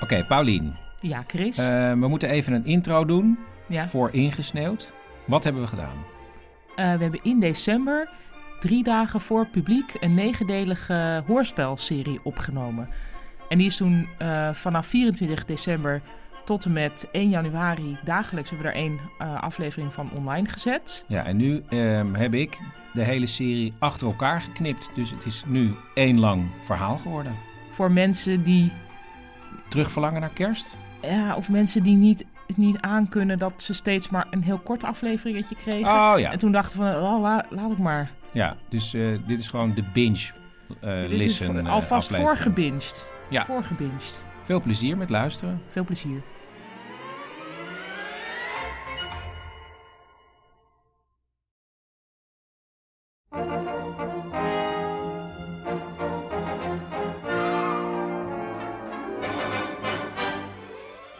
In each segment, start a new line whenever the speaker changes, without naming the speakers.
Oké, Paulien.
Ja, Chris.
eh, we moeten even een intro doen
ja.
voor Ingesneeuwd. Wat hebben we gedaan?
Eh, we hebben in december, drie dagen voor publiek, een negendelige hoorspelserie opgenomen. En die is toen eh, vanaf 24 december tot en met 1 januari dagelijks hebben we daar één eh, aflevering van online gezet.
Ja, en nu ehm, heb ik de hele serie achter elkaar geknipt. Dus het is nu één lang verhaal geworden.
Voor mensen die,
Terugverlangen naar kerst?
ja, of mensen die niet, het niet aankunnen dat ze steeds maar een heel kort afleveringetje kregen.
Oh ja.
En toen dachten we, van, oh, la- laat ik maar.
Ja, dus eh, dit is gewoon de binge eh
Dit is
listen.
voor-
eh,
alvast
aflevering.
voorgebinged.
Ja.
Voorgebinged.
Veel plezier met luisteren.
Veel plezier.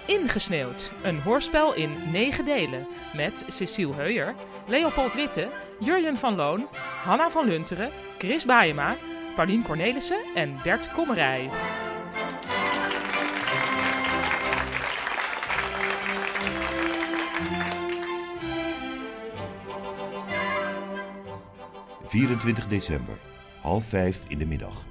Ingesneeuwd, een hoorspel in negen delen. Met Cecile Heuyer, Leopold Witte, Jurjen van Loon, Hanna van Lunteren, Chris Baayema, Paulien Cornelissen en Bert Kommerij.
Hm. 24 december, half vijf in de middag.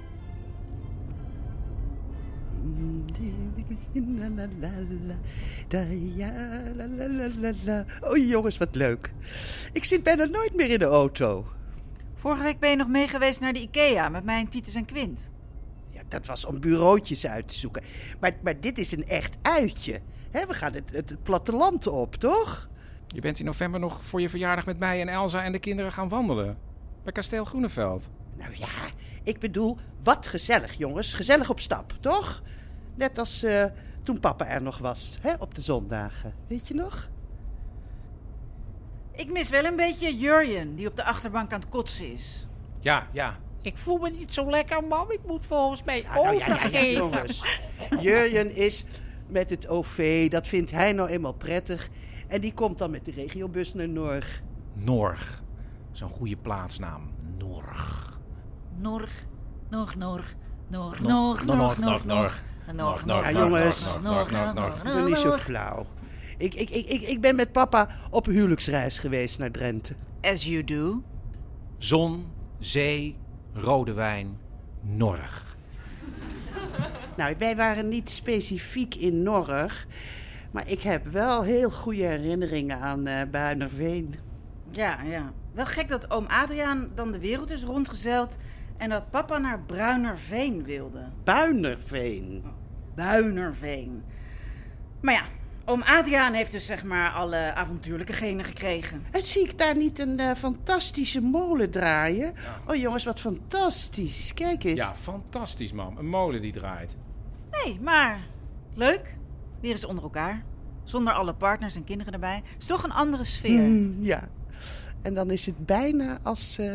Oh jongens, wat leuk. Ik zit bijna nooit meer in de auto.
Vorige week ben je nog mee geweest naar de IKEA met mijn Titus en Quint.
Ja, dat was om bureautjes uit te zoeken. Maar, maar dit is een echt uitje. Hè, we gaan het, het platteland op, toch?
Je bent in november nog voor je verjaardag met mij en Elsa en de kinderen gaan wandelen. Bij Kasteel Groeneveld.
Nou ja, ik bedoel, wat gezellig jongens. Gezellig op stap, toch? Net als eh, toen papa er nog was, hè, op de zondagen. Weet je nog?
Ik mis wel een beetje Jurjen, die op de achterbank aan het kotsen is.
Ja, ja.
Ik voel me niet zo lekker, mam. Ik moet volgens mij
Ja, nou ja, ja, ja,
overgeven.
jongens. Jurjen is met het OV, dat vindt hij nou eenmaal prettig. En die komt dan met de regiobus naar Norg.
Norg. Zo'n goede plaatsnaam. Norg.
Norg, nog, nog, nog, nog, nog, nog, nog, nog, nog, nog,
Ja, jongens.
nog, nog, nog,
Doe niet
nog,
zo
nog.
flauw. Ik, ik, ik, ik, ik ben met papa op een huwelijksreis geweest naar Drenthe.
As you do.
Zon, zee, rode wijn, Norg.
Nou, wij waren niet specifiek in Norg. Maar ik heb wel heel goede herinneringen aan eh Buinerveen.
Ja, ja. Wel gek dat oom Adriaan dan de wereld is rondgezeild en dat papa naar Bruinerveen wilde.
Buinerveen.
Oh.
Buinerveen. Maar ja, oom Adriaan heeft dus zeg maar alle avontuurlijke genen gekregen.
En zie ik daar niet een eh, fantastische molen draaien? Oh jongens, wat fantastisch. Kijk eens.
Ja, fantastisch, mam. Een molen die draait.
Nee, maar leuk. Weer eens onder elkaar. Zonder alle partners en kinderen erbij. Is toch een andere sfeer.
Mm, ja. En dan is het bijna als, eh,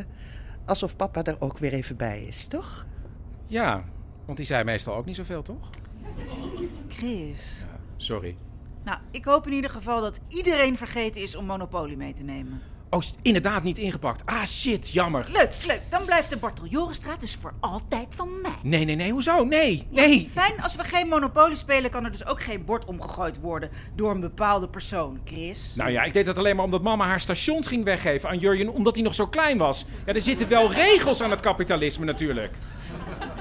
alsof papa er ook weer even bij is, toch?
Ja, want die zei meestal ook niet zoveel, toch?
Chris.
Sorry.
Nou, ik hoop in ieder geval dat iedereen vergeten is om Monopoly mee te nemen.
Oh, s- inderdaad niet ingepakt. Ah, shit, jammer.
Leuk, leuk. Dan blijft de Bartel-Jorenstraat dus voor altijd van mij.
Nee, nee, nee, hoezo? Nee,
Ja,
nee.
Fijn, als we geen Monopoly spelen, kan er dus ook geen bord omgegooid worden door een bepaalde persoon, Chris.
Nou ja, ik deed dat alleen maar omdat mama haar stations ging weggeven aan Jurjen omdat hij nog zo klein was. Ja, er zitten wel regels aan het kapitalisme natuurlijk.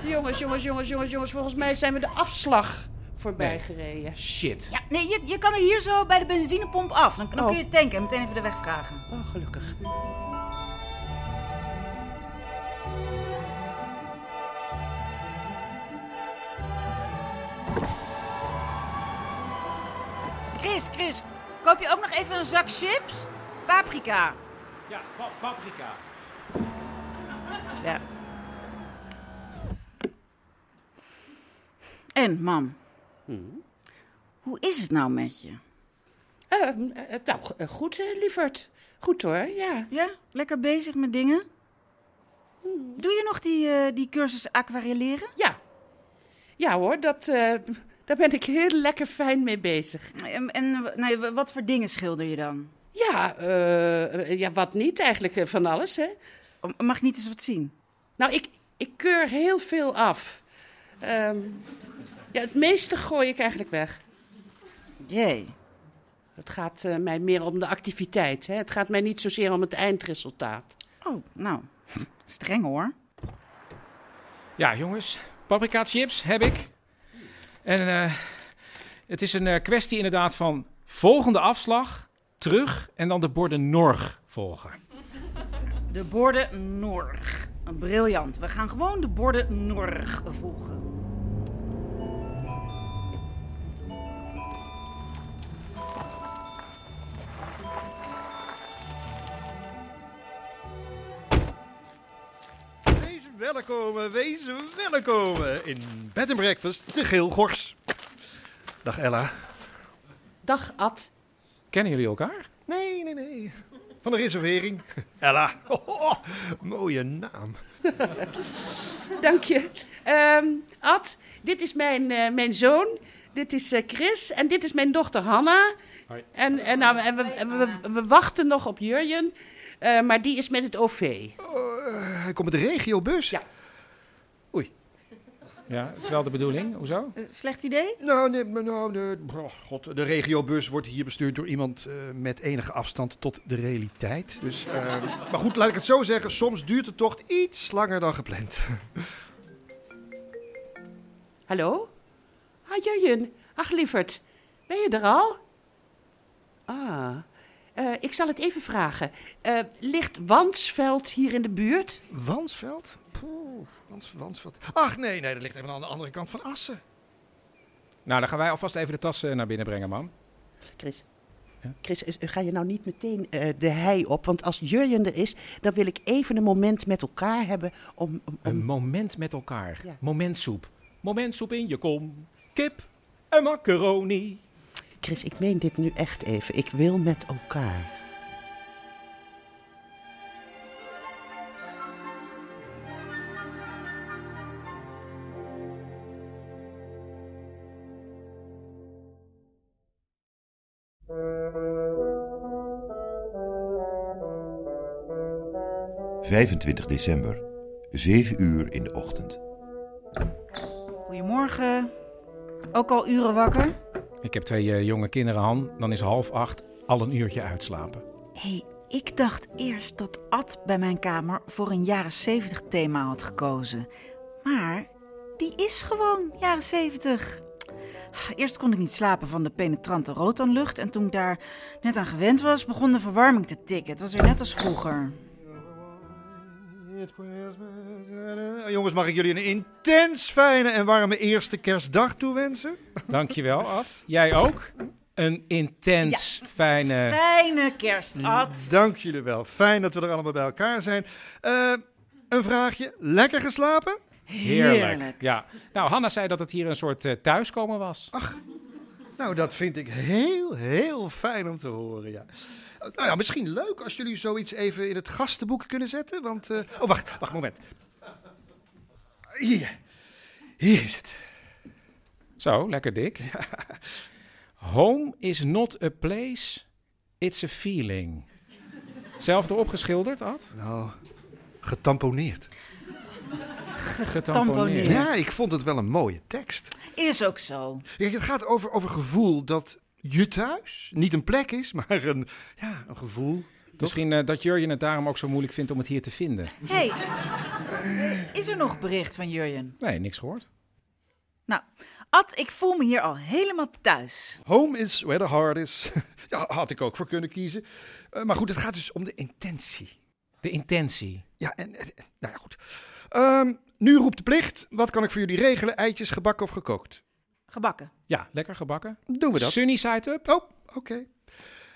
Jongens, jongens, jongens, jongens, jongens. Volgens mij zijn we de afslag voorbij
Nee.
gereden.
Shit.
Ja, nee, je, je kan er hier zo bij de benzinepomp af. Dan, dan
Oh.
kun je tanken en meteen even de weg vragen.
Oh, gelukkig.
Chris, Chris, koop je ook nog even een zak chips? Paprika.
Ja, pa- paprika.
Ja. En, mam. Hoe is het nou met je?
Ehm, eh, nou, go- eh, goed, eh, lieverd. Goed hoor, ja.
Ja? Lekker bezig met dingen? Doe je nog die, eh, die cursus aquarelleren?
Ja. Ja hoor, dat, eh, daar ben ik heel lekker fijn mee bezig.
En, en eh, nou, ja, wat voor dingen schilder je dan?
Ja, eh, eh, ja wat niet eigenlijk, eh, van alles hè.
Mag ik niet eens wat zien?
Nou, ik, ik keur heel veel af. Ehm, ja, het meeste gooi ik eigenlijk weg.
Jee.
Het gaat eh, mij meer om de activiteit. Hè? Het gaat mij niet zozeer om het eindresultaat.
Oh, nou, streng hoor.
Ja, jongens, paprika chips heb ik. En eh, het is een eh, kwestie inderdaad van volgende afslag, terug en dan de borden Norg volgen.
De borden Norg. Briljant. We gaan gewoon de borden Norg volgen.
Wees welkom, wees welkom in Bed and Breakfast, de Geel Gors. Dag Ella.
Dag Ad.
Kennen jullie elkaar?
Nee, nee, nee. Van de reservering. Ella. Oh, mooie naam.
Dank je. Ehm, Ad, dit is mijn, eh, mijn zoon. Dit is eh, Chris. En dit is mijn dochter Hanna. En, en, nou, en we, en we, we wachten nog op Jurjen. eh, maar die is met het OV.
Eh, hij komt met de regiobus.
Ja.
Ja, dat is wel de bedoeling. Hoezo?
Eh, Slecht idee?
Nou, nee, maar nou nee, oh, God, de regiobus wordt hier bestuurd door iemand eh, met enige afstand tot de realiteit. Dus, eh, maar goed, laat ik het zo zeggen. Soms duurt de tocht iets langer dan gepland.
Hallo? Ah, Jurjen. Ach, lieverd. Ben je er al? Ah. Eh, ik zal het even vragen. Eh, ligt Wansveld hier in de buurt?
Wansveld? Poeh, Wans- Wansveld. Ach nee, nee, dat ligt even aan de andere kant van Assen.
Nou, dan gaan wij alvast even de tassen naar binnen brengen, man.
Chris.
Chris, is- ga je nou niet meteen eh, de hei op? Want als Jurjen er is, dan wil ik even een moment met elkaar hebben om... om, om...
Een moment met elkaar.
Ja.
Momentsoep. Momentsoep in je kom. Kip en macaroni.
Chris, ik meen dit nu echt even. Ik wil met elkaar.
Hm. 25 december, 7 uur in de ochtend.
Goedemorgen. Ook al uren wakker?
Ik heb twee eh, jonge kinderen, Han. Dan is half acht al een uurtje uitslapen.
Hé, hey, ik dacht eerst dat Ad bij mijn kamer voor een jaren 70 thema had gekozen. Maar die is gewoon jaren 70. Eerst kon ik niet slapen van de penetrante rotanlucht. En toen ik daar net aan gewend was, begon de verwarming te tikken. Het was weer net als vroeger.
Eh, jongens, mag ik jullie een intens fijne en warme eerste kerstdag toewensen?
Dankjewel, Ad. Jij ook? Een intens fijne...
Fijne kerst, Ad.
Mm,
Dank jullie wel. Fijn dat we er allemaal bij elkaar zijn. Eh, een vraagje. Lekker geslapen?
Heerlijk. Ja. Nou, Hanna zei dat het hier een soort eh, thuiskomen was. Ach.
Nou, dat vind ik heel, heel fijn om te horen, ja. Eh, Nou ja, misschien leuk als jullie zoiets even in het gastenboek kunnen zetten, want... eh, Oh, wacht, wacht, moment. Hier. Hier is het.
Zo, lekker dik. Home is not a place, it's a feeling. Zelf erop geschilderd, Ad?
Nou, getamponeerd.
Getamponeerd.
Ja, ik vond het wel een mooie tekst.
Is ook zo.
Kijk, het gaat over, over gevoel dat je thuis niet een plek is, maar een, ja, een gevoel.
Misschien eh, dat Jurjen het daarom ook zo moeilijk vindt om het hier te vinden.
Hé, hey, eh, is er nog bericht van Jurjen?
Nee, niks gehoord.
Nou, Ad, ik voel me hier al helemaal thuis.
Home is where the heart is. ja, had ik ook voor kunnen kiezen. Eh, maar goed, het gaat dus om de intentie.
De intentie.
Ja, en, en- en- nou ja, goed. Ehm, nu roept de plicht. Wat kan ik voor jullie regelen? Eitjes, gebakken of gekookt?
Gebakken.
Ja, lekker gebakken.
Doen we dat.
Sunny side up.
Oh, Oké.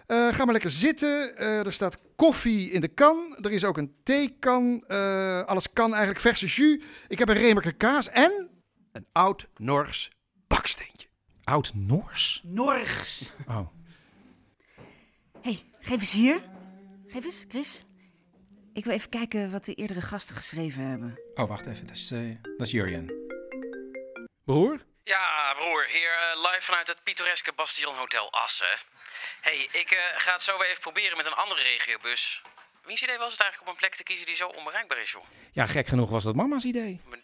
Eh, ga maar lekker zitten. Eh, er staat koffie in de kan. Er is ook een theekan. Eh, alles kan eigenlijk. Verse jus. Ik heb een remerke kaas en een oud Nors baksteentje.
Oud Nors?
Norgs.
Oh.
hey, geef eens hier. Geef eens, Chris. Ik wil even kijken wat de eerdere gasten geschreven hebben.
Oh, wacht even. Dat is, eh, dat is Jurjen.
Broer?
Ja, broer, hier eh, live vanuit het pittoreske Bastion Hotel Assen. hey, ik eh, ga het zo weer even proberen met een andere regiobus. Wiens idee was het eigenlijk om een plek te kiezen die zo onbereikbaar is, joh?
Ja, gek genoeg was dat mama's idee.
Maar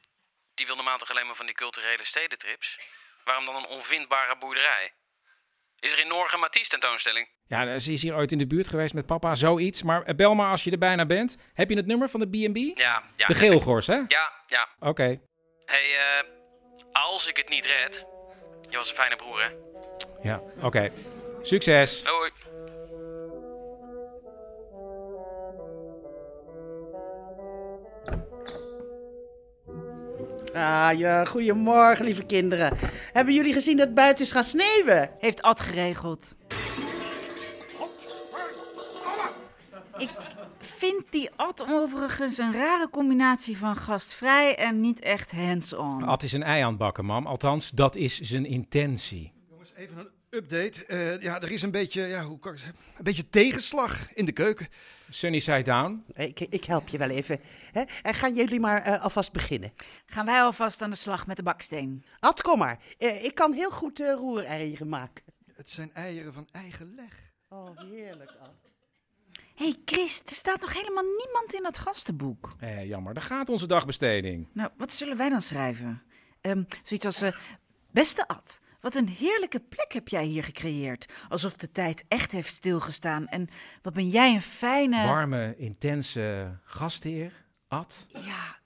Die wil normaal toch alleen maar van die culturele stedentrips? Waarom dan een onvindbare boerderij? Is er in Norge een Matisse tentoonstelling?
Ja, ze is hier ooit in de buurt geweest met papa, zoiets. Maar eh, bel maar als je er bijna bent. Heb je het nummer van de B&B?
Ja, ja.
De Geelgors, hè?
Ja, ja.
Oké.
hey, eh, als ik het niet red... Je was een fijne broer, hè?
Ja, oké. Succes.
Hoi.
Ah, ja, goedemorgen, lieve kinderen. Hebben jullie gezien dat het buiten is gaan sneeuwen?
Heeft Ad geregeld. Ik vind die Ad overigens een rare combinatie van gastvrij en niet echt hands-on.
Ad is een ei aan het bakken, mam. Althans, dat is zijn intentie.
Even een update. Eh, ja, er is een beetje, ja, hoe kan ik het zeggen? Een beetje tegenslag in de keuken.
Sunny side down.
Ik, ik help je wel even. Hè? En gaan jullie maar eh, alvast beginnen.
Gaan wij alvast aan de slag met de baksteen.
Ad, kom maar. Eh, ik kan heel goed eh roereieren maken.
Het zijn eieren van eigen leg.
Oh, heerlijk, Ad.
Hé hey Chris, er staat nog helemaal niemand in dat gastenboek.
Eh, jammer, daar gaat onze dagbesteding.
Nou, wat zullen wij dan schrijven? Ehm, zoiets als, eh, beste Ad, wat een heerlijke plek heb jij hier gecreëerd. Alsof de tijd echt heeft stilgestaan. En wat ben jij een fijne...
Warme, intense gastheer, Ad.
Ja,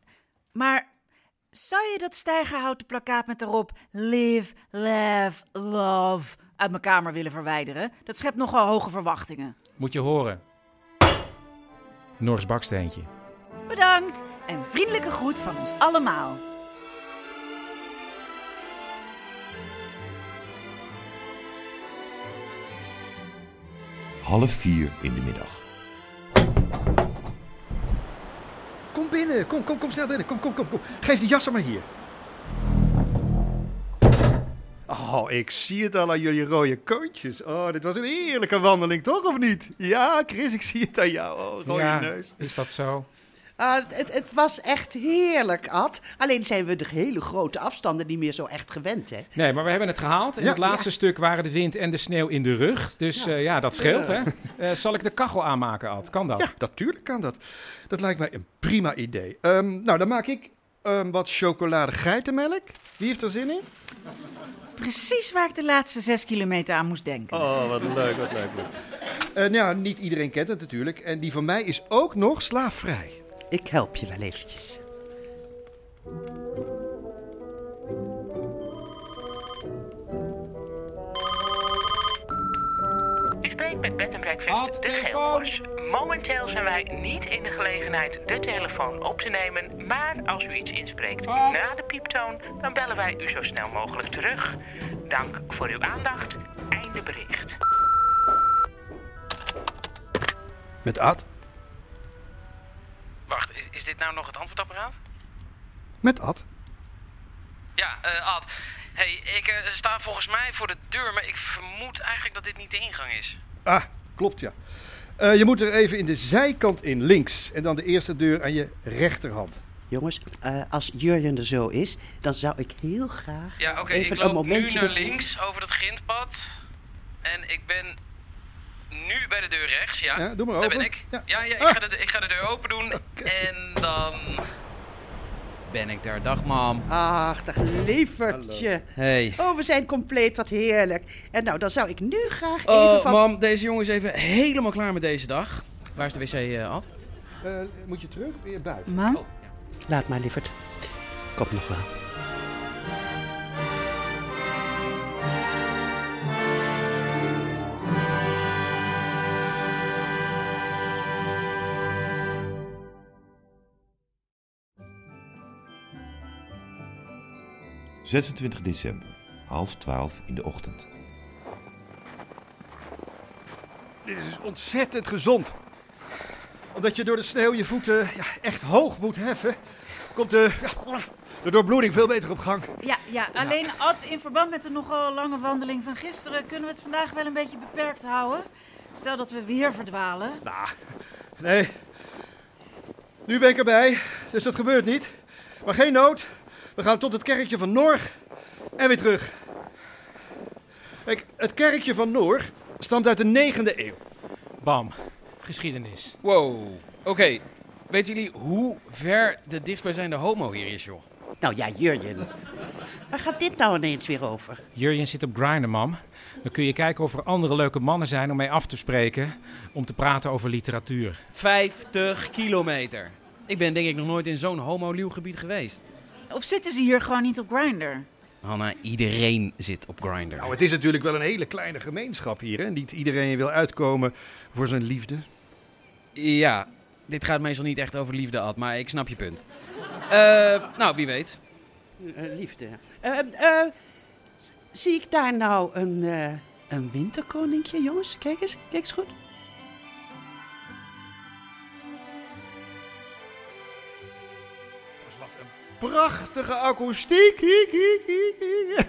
maar zou je dat stijgerhouten plakkaat met daarop Live, Laugh, Love uit mijn kamer willen verwijderen? Dat schept nogal hoge verwachtingen.
Moet je horen. Norris Baksteentje.
Bedankt en vriendelijke groet van ons allemaal.
Half vier in de middag.
Kom binnen, kom, kom, kom snel binnen. Kom, kom, kom, kom. Geef die jassen maar hier. Oh, ik zie het al aan jullie rode koontjes. Oh, dit was een heerlijke wandeling, toch of niet? Ja, Chris, ik zie het aan jou. Oh, rode
Ja,
neus.
Is dat zo?
Ah, het, het was echt heerlijk, Ad. Alleen zijn we de hele grote afstanden niet meer zo echt gewend, hè?
Nee, maar we hebben het gehaald. In
Ja,
het laatste stuk waren de wind en de sneeuw in de rug. Dus eh, ja, dat scheelt,
Ja.
hè? Eh, zal ik de kachel aanmaken, Ad? Kan dat?
Ja, natuurlijk kan dat. Dat lijkt mij een prima idee. Ehm, nou, dan maak ik ehm, wat chocolade geitenmelk. Wie heeft er zin in?
Precies waar ik de laatste zes kilometer aan moest denken.
Oh, wat leuk, wat leuk. leuk. Eh, nou, ja, niet iedereen kent het natuurlijk. En die van mij is ook nog slaafvrij.
Ik help je wel eventjes.
U spreekt met Bed Breakfast de Geelgors. Momenteel zijn wij niet in de gelegenheid de telefoon op te nemen. Maar als u iets inspreekt na de pieptoon, dan bellen wij u zo snel mogelijk terug. Dank voor uw aandacht. Einde bericht.
Met Ad?
Wacht, is, is dit nou nog het antwoordapparaat?
Met Ad?
Ja, eh, Ad. hey, ik eh, sta volgens mij voor de deur, maar ik vermoed eigenlijk dat dit niet de ingang is.
Ah, klopt ja. Eh, je moet er even in de zijkant in, links. En dan de eerste deur aan je rechterhand.
Jongens, eh, als Jurjen er zo is, dan zou ik heel graag
Ja, oké,
even
ik
een
loop nu
momentje...
naar
met-
links over dat grindpad. En ik ben nu bij de deur rechts, ja.
Ja, doe maar
Daar
open.
ben ik. Ja, ja, ik, ga de, ik ga de deur open doen. En dan... Ben ik daar. Dag, mam.
Ach, dag levertje.
Hey.
Oh, we zijn compleet, wat heerlijk. En nou, dan zou ik nu graag even
Oh,
van...
mam, deze jongen is even helemaal klaar met deze dag. Waar is de wc, eh, Ad?
Eh, moet je terug? Weer buiten.
Maar?
Laat maar, lieverd. Kom nog wel.
december, half twaalf in de ochtend.
dit is ontzettend gezond. Omdat je door de sneeuw je voeten ja, echt hoog moet heffen, komt de, ja, de doorbloeding veel beter op gang.
Ja, ja, alleen Ad, in verband met de nogal lange wandeling van gisteren kunnen we het vandaag wel een beetje beperkt houden. Stel dat we weer verdwalen.
Nou, nee. Nu ben ik erbij, dus dat gebeurt niet. Maar geen nood. We gaan tot het kerkje van Norg en weer terug. Kijk, het kerkje van Norg stamt uit de 9e eeuw.
Bam, geschiedenis.
Wow. Oké, weten jullie hoe ver de dichtstbijzijnde homo hier is, joh?
Nou ja, Jurjen. Waar gaat dit nou ineens weer over?
Jurjen zit op Grindr, mam. Dan kun je kijken of er andere leuke mannen zijn om mee af te spreken. Om te praten over literatuur.
50 kilometer. Ik ben denk ik nog nooit in zo'n homo gebied geweest.
Of zitten ze hier gewoon niet op Grindr?
Hanna, iedereen zit op Grindr.
Nou, het is natuurlijk wel een hele kleine gemeenschap hier. Hè? Niet iedereen wil uitkomen voor zijn liefde.
Ja, dit gaat meestal niet echt over liefde, Ad, maar ik snap je punt. Eh, nou, wie weet.
Eh, liefde. Eh, eh, zie ik daar nou een, eh, een winterkoninkje, jongens? Kijk eens, kijk eens goed.
Dus wat een prachtige akoestiek. Hiek, hiek, hiek, hiek.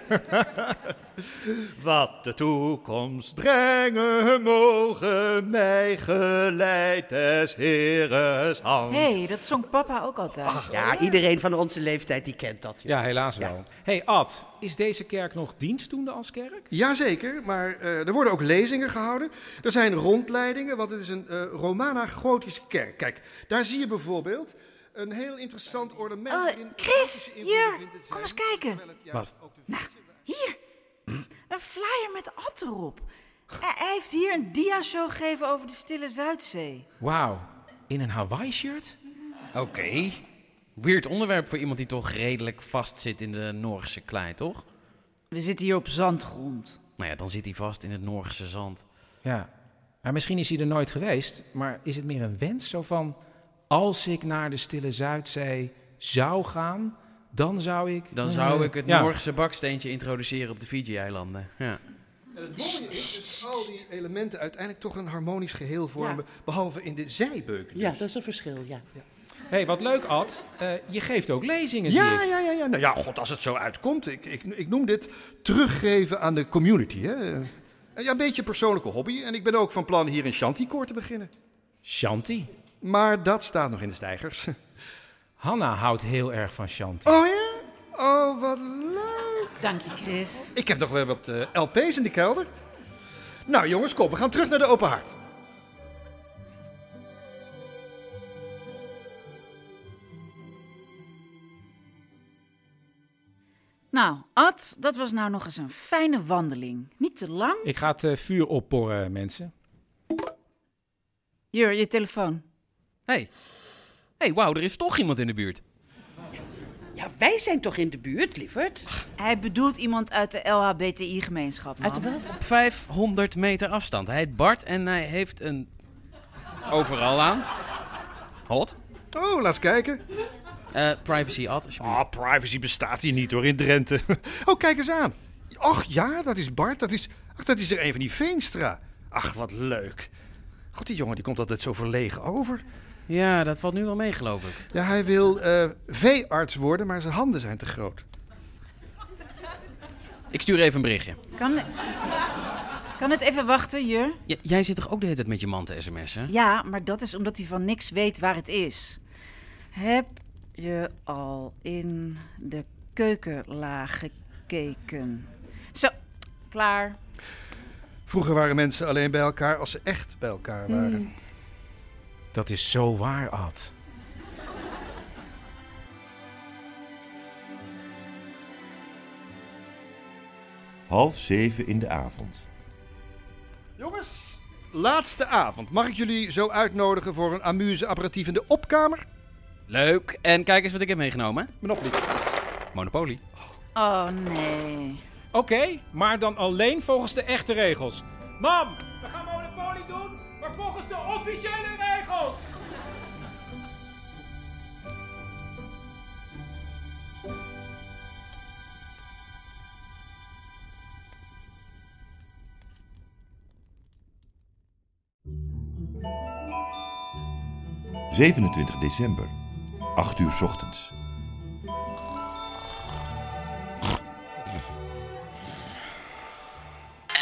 Wat de toekomst brengen mogen mij geleid des Heeres hand.
Hé, hey, dat zong papa ook altijd.
Ja, iedereen van onze leeftijd die kent dat.
Ja, helaas wel. hey, Ad, is deze kerk nog dienstdoende als kerk?
Jazeker, maar eh, er worden ook lezingen gehouden. Er zijn rondleidingen, want het is een eh, Romana-gotische kerk. Kijk, daar zie je bijvoorbeeld een heel interessant ornament.
Oh, Chris, hier, kom eens kijken. Nou,
Wat?
Hier, een flyer met Ad erop. Hij hij heeft hier een dia-show gegeven over de stille Zuidzee.
Wauw, in een Hawaii-shirt?
Oké. Weird onderwerp voor iemand die toch redelijk vast zit in de Noorse klei, toch?
We zitten hier op zandgrond.
Nou ja, dan zit hij vast in het Noorse zand.
Ja. Maar misschien is hij er nooit geweest, maar is het meer een wens zo van... Als ik naar de stille Zuidzee zou gaan, dan zou ik... eh,
Dan zou ik het
Ja.
Noorse baksteentje introduceren op de Fiji-eilanden. Ja.
En het mooie is dat al die elementen uiteindelijk toch een harmonisch geheel vormen, behalve in de zijbeuken.
Ja, dat is een verschil, ja.
Hé, hey, wat leuk, Ad. Eh, je geeft ook lezingen, zie
Ja,
ik.
ja, ja, ja. Nou ja, god, als het zo uitkomt. Ik, ik, ik noem dit teruggeven aan de community. Hè. Eh, Ja, een beetje een persoonlijke hobby. En ik ben ook van plan hier in Shantykoor te beginnen.
Shanti?
Maar dat staat nog in de stijgers.
Hanna houdt heel erg van Shanti.
Oh ja? Oh, wat leuk.
Dank je, Chris.
Ik heb nog wel wat eh, LP's in de kelder. Nou jongens, kom, we gaan terug naar de open haard.
Nou, Ad, dat was nou nog eens een fijne wandeling. Niet te lang.
Ik ga het eh, vuur opporren, mensen.
Jur, je telefoon.
hey. hey, wauw, er is toch iemand in de buurt.
Ja, wij zijn toch in de buurt, lieverd?
Hij bedoelt iemand uit de LHBTI-gemeenschap. Uit de wat?
Op 500 meter afstand. Hij heet Bart en hij heeft een... Overal aan. Hot.
Oh, laat eens kijken.
Eh, privacy, Ad, alsjeblieft.
Ah, privacy bestaat hier niet hoor, in Drenthe. Oh, kijk eens aan. Och ja, dat is Bart, dat is, ach, dat is er een van die Veenstra. Ach, wat leuk. God, die jongen die komt altijd zo verlegen over.
Ja, dat valt nu wel mee, geloof ik.
Ja, hij wil eh, veearts worden, maar zijn handen zijn te groot.
Ik stuur even een berichtje.
Kan, kan het even wachten, Jur?
J- jij zit toch ook de hele tijd met je man te sms'en?
Ja, maar dat is omdat hij van niks weet waar het is. Heb je al in de keukenlaag gekeken? Zo, klaar.
Vroeger waren mensen alleen bij elkaar als ze echt bij elkaar waren.
Dat is zo waar, Ad.
Half zeven in de avond.
Jongens, laatste avond. Mag ik jullie zo uitnodigen voor een amuse aperitief in de opkamer?
Leuk. En kijk eens wat ik heb meegenomen.
Monopoly.
Monopoly.
Oh nee.
Oké, maar dan alleen volgens de echte regels. Mam, we gaan Monopoly doen, maar volgens de officiële regels.
27 december, 8 uur 's ochtends.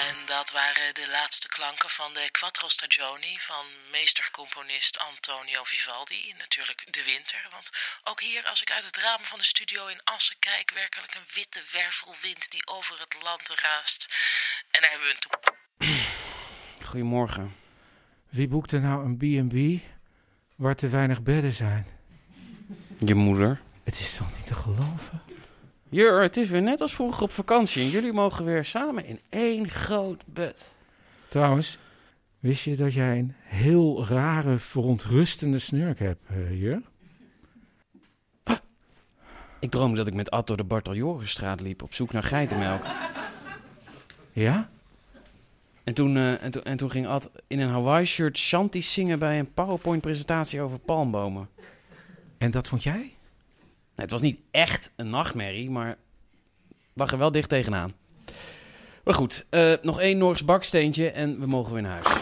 En dat waren de laatste klanken van de Quattro Stagioni van meestercomponist Antonio Vivaldi. Natuurlijk de winter, want ook hier, als ik uit het raam van de studio in Assen kijk, werkelijk een witte wervelwind die over het land raast. En daar hebben we een toe.
Goedemorgen.
Wie boekt er nou een B&B waar te weinig bedden zijn?
Je moeder.
Het is toch niet te geloven?
Jur, het is weer net als vroeger op vakantie. En jullie mogen weer samen in één groot bed.
Trouwens, wist je dat jij een heel rare, verontrustende snurk hebt, eh, Jur?
Ik droomde dat ik met Ad door de Bartaljorenstraat liep op zoek naar geitenmelk.
Ja?
En toen, eh, en, toen- en toen ging Ad in een Hawaii-shirt shanty zingen bij een PowerPoint-presentatie over palmbomen.
En dat vond jij? Nee,
het was niet echt een nachtmerrie, maar lag er wel dicht tegenaan. Maar goed, eh, nog één Norgs baksteentje en we mogen weer naar huis.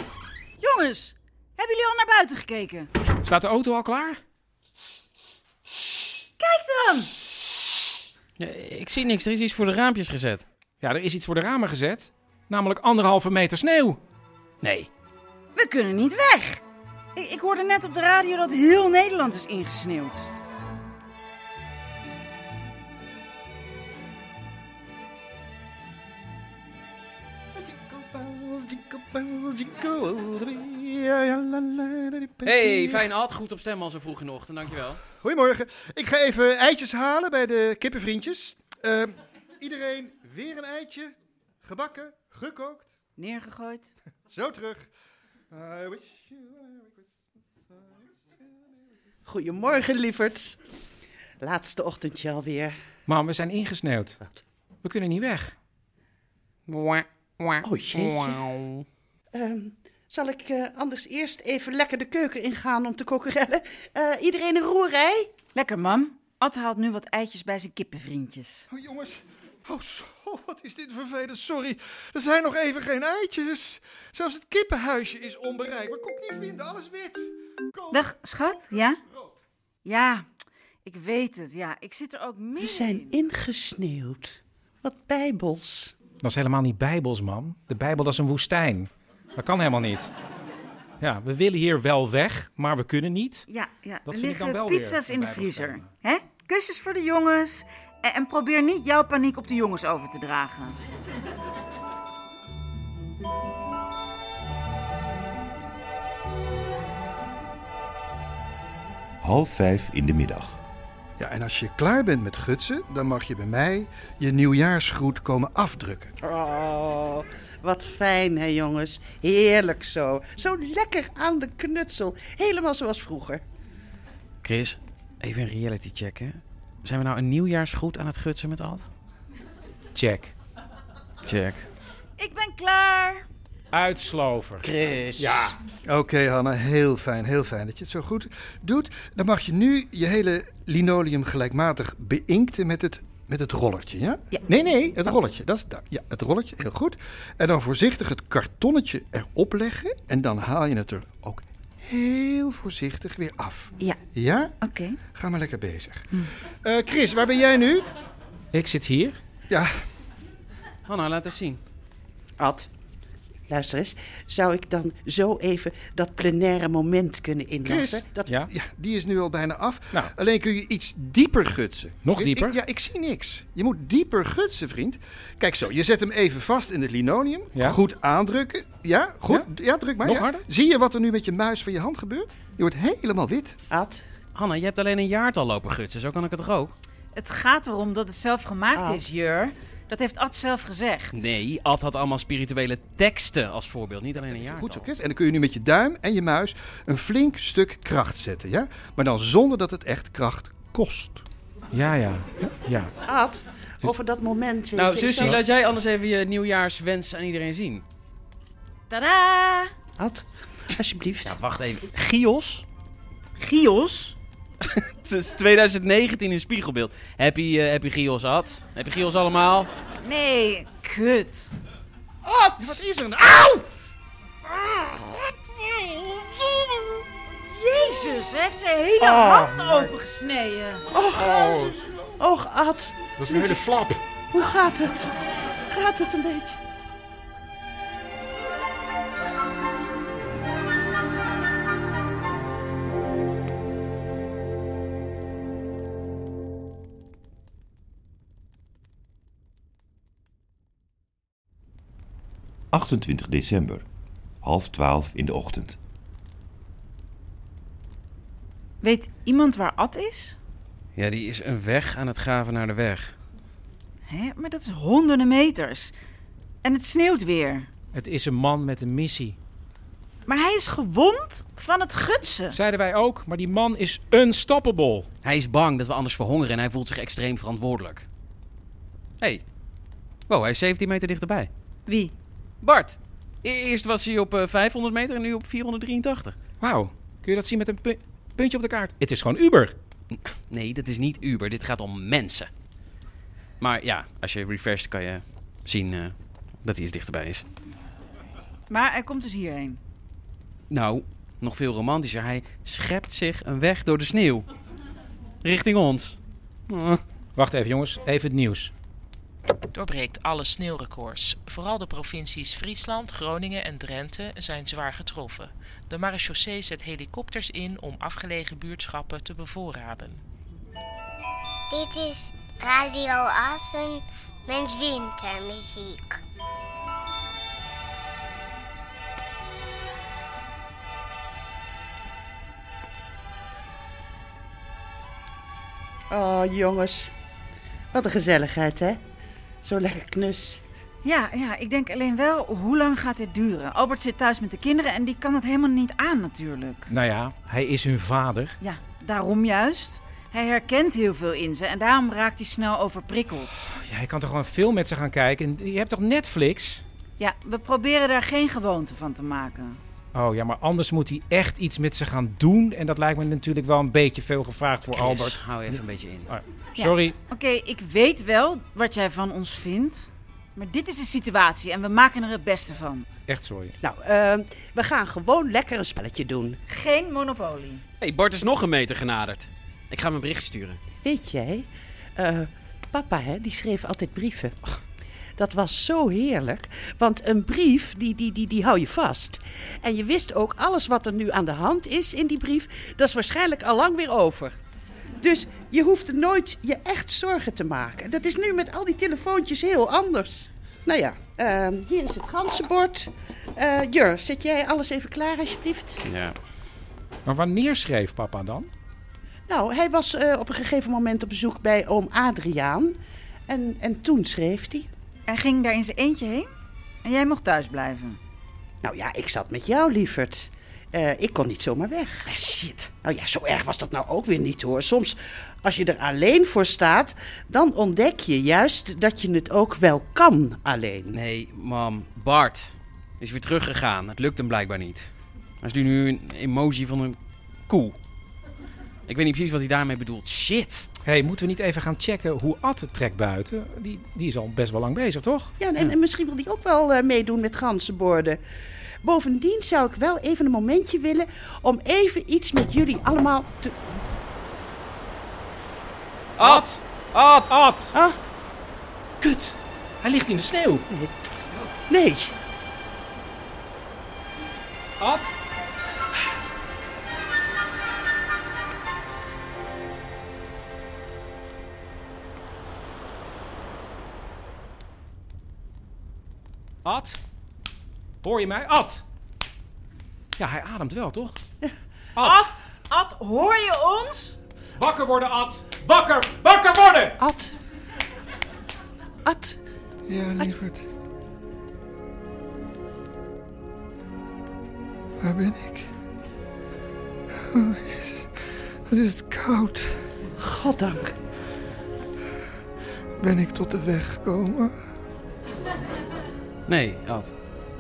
Jongens, hebben jullie al naar buiten gekeken?
Staat de auto al klaar?
Kijk dan!
Ja, ik zie niks, er is iets voor de raampjes gezet.
Ja, er is iets voor de ramen gezet. Namelijk anderhalve meter sneeuw.
Nee.
We kunnen niet weg. Ik, ik hoorde net op de radio dat heel Nederland is ingesneeuwd.
Hey, fijn Ad, goed op stem al zo vroeg in de ochtend, dankjewel.
Goedemorgen. Ik ga even eitjes halen bij de kippenvriendjes. Ehm, iedereen weer een eitje. Gebakken, gekookt.
Neergegooid.
Zo terug. Eh, I wish you a Merry
Goedemorgen, lieverds. Laatste ochtendje alweer.
Mam, we zijn ingesneeuwd. We kunnen niet weg.
Oh, jeetje. Ehm, zal ik eh, anders eerst even lekker de keuken ingaan om te kokerellen? Eh, iedereen een roerij?
Lekker, mam. Ad haalt nu wat eitjes bij zijn kippenvriendjes.
Oh, jongens. Oh, zo, wat is dit vervelend. Sorry. Er zijn nog even geen eitjes. Zelfs het kippenhuisje is onbereikbaar. Kon ik niet vinden. Alles wit.
Dag, schat. Ja? Ja, ik weet het. Ja, ik zit er ook midden
We zijn ingesneeuwd. Wat bijbels.
Dat is helemaal niet bijbels, mam. De Bijbel dat is een woestijn. Dat kan helemaal niet. Ja, we willen hier wel weg, maar we kunnen niet.
Ja, ja.
Dat
er
vind ik
liggen
dan wel weer
pizza's in de
bij
vriezer. Hè? Kusjes voor de jongens. En, en probeer niet jouw paniek op de jongens over te dragen.
Half vijf in de middag.
Ja, en als je klaar bent met gutsen, dan mag je bij mij je nieuwjaarsgroet komen afdrukken.
Oh, wat fijn, hè, jongens. Heerlijk zo. Zo lekker aan de knutsel. Helemaal zoals vroeger.
Chris, even een reality check, hè. Zijn we nou een nieuwjaarsgoed aan het gutsen met Ad?
Check.
Check.
Ik ben klaar.
Uitslover.
Chris.
Ja.
Oké, Hanna, heel fijn, heel fijn dat je het zo goed doet. Dan mag je nu je hele linoleum gelijkmatig beïnkten met het, met het rollertje, ja? Nee, nee, het rolletje. Dat is daar. Ja, het rolletje, heel goed. En dan voorzichtig het kartonnetje erop leggen en dan haal je het er ook heel voorzichtig weer af.
Ja.
Ja?
Oké.
Ga maar lekker bezig. Eh, Chris, waar ben jij nu?
Ik zit hier.
Ja.
Hanna, laat eens zien.
Ad, luister eens. Zou ik dan zo even dat plenaire moment kunnen
Chris,
inlassen? Dat...
ja? die is nu al bijna af. Alleen kun je iets dieper gutsen.
Nog
Ik-
dieper?
ik- ja, ik zie niks. Je moet dieper gutsen, vriend. Kijk zo, je zet hem even vast in het linoleum.
Ja.
Goed aandrukken. Ja, goed. Ja, druk maar.
Nog
ja.
harder?
Zie je wat er nu met je muis van je hand gebeurt? Je wordt helemaal wit.
Ad?
Hanna, je hebt alleen een jaartal lopen gutsen, zo kan ik het toch ook?
Het gaat erom dat het zelf gemaakt
Oh.
is, Jur. Dat heeft Ad zelf gezegd.
Nee, Ad had allemaal spirituele teksten als voorbeeld, niet alleen een jaartal.
Goed zo, Chris. En dan kun je nu met je duim en je muis een flink stuk kracht zetten. Ja? Maar dan zonder dat het echt kracht kost.
Ja, ja. ja.
Ad, over dat moment... weet
Nou,
je, ik
Susie,
zou-
laat jij anders even je nieuwjaarswens aan iedereen zien.
Tadaa!
Ad, alsjeblieft.
Ja, wacht even. Gios?
Gios?
Het is 2019 in spiegelbeeld. Happy, eh, happy Gios, Ad. Happy Gios allemaal.
Nee, kut.
Ad!
nou?
Wat is er? Auw!
Jezus. Jezus, hij heeft zijn hele
Oh,
hand
maar-
opengesneden.
Och,
Oh.
och, Ad.
Dat is een hele flap.
Hoe gaat het? Gaat het een beetje?
dag. 28 december, half twaalf in de ochtend.
Weet iemand waar Ad is?
Ja, die is een weg aan het graven naar de weg.
Hè, maar dat is honderden meters. En het sneeuwt weer.
Het is een man met een missie.
Maar hij is gewond van het gutsen.
Zeiden wij ook, maar die man is unstoppable.
Hij is bang dat we anders verhongeren en hij voelt zich extreem verantwoordelijk. Hé. Hey. Wow, hij is 17 meter dichterbij.
Wie?
Bart. E- Eerst was hij op eh, 500 meter en nu op 483.
Wauw, kun je dat zien met een pu- puntje op de kaart? Het is gewoon Uber.
Nee, dat is niet Uber. Dit gaat om mensen. Maar ja, als je refresht kan je zien eh, dat hij eens dichterbij is.
Maar hij komt dus hierheen.
Nou, nog veel romantischer. Hij schept zich een weg door de sneeuw. Richting ons. Ah.
Wacht even jongens, even het nieuws.
doorbreekt alle sneeuwrecords. Vooral de provincies Friesland, Groningen en Drenthe zijn zwaar getroffen. De marechaussee zet helikopters in om afgelegen buurtschappen te bevoorraden.
Dit is Radio Assen met wintermuziek.
Oh, jongens. Wat een gezelligheid, hè? Zo lekker knus.
Ja, ja, ik denk alleen wel, hoe lang gaat dit duren? Albert zit thuis met de kinderen en die kan het helemaal niet aan natuurlijk.
Nou ja, hij is hun vader.
Ja, daarom juist. Hij herkent heel veel in ze en daarom raakt hij snel overprikkeld.
Ja, hij kan toch gewoon een film met ze gaan kijken? Je hebt toch Netflix?
Ja, we proberen daar geen gewoonte van te maken.
Oh ja, maar anders moet hij echt iets met ze gaan doen. En dat lijkt me natuurlijk wel een beetje veel gevraagd voor
Chris,
Albert.
hou even een beetje in.
Oh,
Ja,
sorry.
Oké, ik weet wel wat jij van ons vindt. Maar dit is de situatie en we maken er het beste van.
Echt sorry.
Nou, eh, we gaan gewoon lekker een spelletje doen.
Geen monopolie.
hey, Bart is nog een meter genaderd. Ik ga hem een bericht sturen.
Weet jij, eh, papa hè, die schreef altijd brieven. Dat was zo heerlijk, want een brief die, die, die, die hou je vast. En je wist ook alles wat er nu aan de hand is in die brief, dat is waarschijnlijk al lang weer over. Dus je hoeft er nooit je echt zorgen te maken. Dat is nu met al die telefoontjes heel anders. Nou ja, eh, hier is het ganzenbord. Eh Jur, zet jij alles even klaar alsjeblieft?
Ja.
Maar wanneer schreef papa dan?
Nou, hij was eh, op een gegeven moment op bezoek bij oom Adriaan. En, en toen schreef hij.
En ging daar in zijn eentje heen? En jij mocht thuis blijven?
Nou ja, ik zat met jou, lieverd. Eh, ik kon niet zomaar weg.
Ah, shit.
Nou ja, zo erg was dat nou ook weer niet hoor. Soms, als je er alleen voor staat, dan ontdek je juist dat je het ook wel kan alleen.
Nee, mam. Bart is weer teruggegaan. Het lukt hem blijkbaar niet. Hij is nu een emoji van een koe. Ik weet niet precies wat hij daarmee bedoelt. Shit.
Hé, hey, moeten we niet even gaan checken hoe Ad het trekt buiten? Die, die is al best wel lang bezig, toch?
Ja, en, en misschien wil die ook wel eh, meedoen met ganzenborden. Bovendien zou ik wel even een momentje willen om even iets met jullie allemaal te...
Ad! Ad!
Ad!
Ah.
Kut. Hij ligt in de sneeuw.
Nee. nee.
Ad? Ad? Hoor je mij? Ad! Ja, hij ademt wel, toch? Ad! Ad,
hoor je ons?
Wakker worden, Ad! Wakker! Wakker worden!
Ad. Ad.
Ja, lieverd. Waar ben ik? Oh, jezus. Wat is het koud.
Goddank.
Ben ik tot de weg gekomen?
Nee, Ad.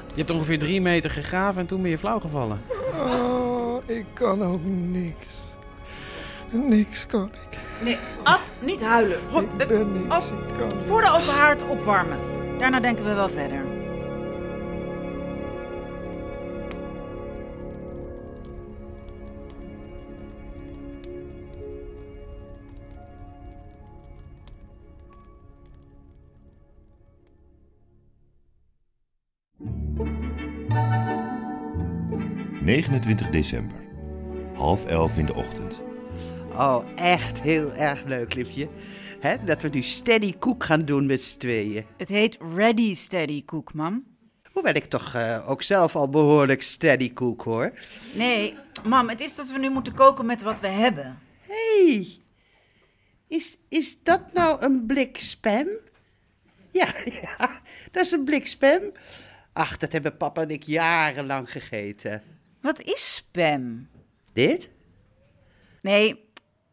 Je hebt ongeveer drie meter gegraven en toen ben je flauw gevallen.
Oh, ik kan ook niks. Niks kan ik.
Nee, Ad, niet huilen. Rob,
Ik ben niks.
Ad, voor de open haard opwarmen. Daarna denken we wel verder.
29 december, half elf in de ochtend.
Oh, echt heel erg leuk, Lipje. Hè, dat we nu steady koek gaan doen met z'n tweeën.
Het heet Ready Steady Cook, mam.
Hoewel ik toch eh, ook zelf al behoorlijk steady koek hoor.
Nee, mam, het is dat we nu moeten koken met wat we hebben.
Hé, hey, is, is dat nou een blik spam? Ja, ja,
Dat is een blik spam. Ach, dat hebben papa en ik jarenlang gegeten.
Wat is spam?
Dit?
Nee,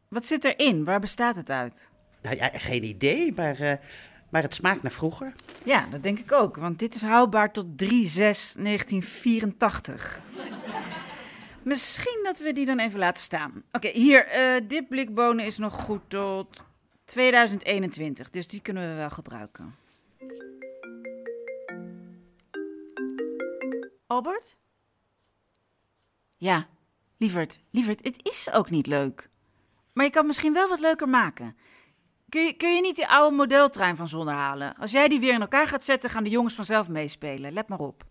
wat zit erin? Waar bestaat het uit?
Nou ja, geen idee, maar, eh, maar het smaakt naar vroeger.
Ja, dat denk ik ook, want dit is houdbaar tot 3-6-1984. Misschien dat we die dan even laten staan. Oké, hier, eh, dit blik bonen is nog goed tot 2021, dus die kunnen we wel gebruiken. Albert? Ja, lieverd, lieverd, het is ook niet leuk. Maar je kan het misschien wel wat leuker maken. Kun je, kun je niet die oude modeltrein van zonder halen? Als jij die weer in elkaar gaat zetten, gaan de jongens vanzelf meespelen. Let maar op.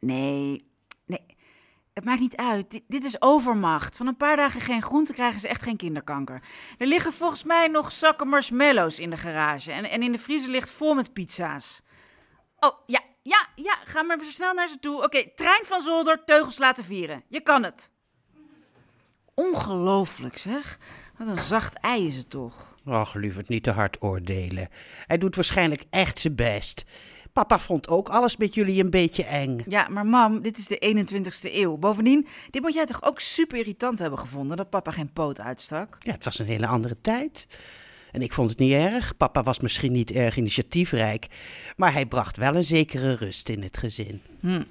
Nee, nee. Het maakt niet uit. Dit, dit is overmacht. Van een paar dagen geen groente krijgen is echt geen kinderkanker. Er liggen volgens mij nog zakken marshmallows in de garage. En, en in de vriezer ligt vol met pizza's. Oh, ja, ja, ja. Ga maar weer snel naar ze toe. Oké, trein van zolder, teugels laten vieren. Je kan het. Ongelooflijk, zeg. Wat een zacht ei is het toch.
Ach, lieverd, niet te hard oordelen. Hij doet waarschijnlijk echt zijn best. Papa vond ook alles met jullie een beetje eng.
Ja, maar mam, dit is de 21ste eeuw. Bovendien, dit moet jij toch ook super irritant hebben gevonden dat papa geen poot uitstak?
Ja, het was een hele andere tijd. En ik vond het niet erg. Papa was misschien niet erg initiatiefrijk, maar hij bracht wel een zekere rust in het gezin.
Hm.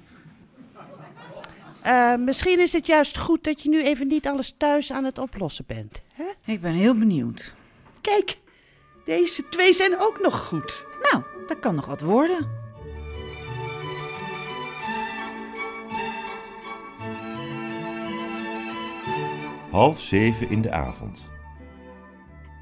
Eh, misschien is het juist goed dat je nu even niet alles thuis aan het oplossen bent.
Ik ben heel benieuwd.
Kijk, deze twee zijn ook nog goed.
Nou, dat kan nog wat worden.
Half zeven in de avond.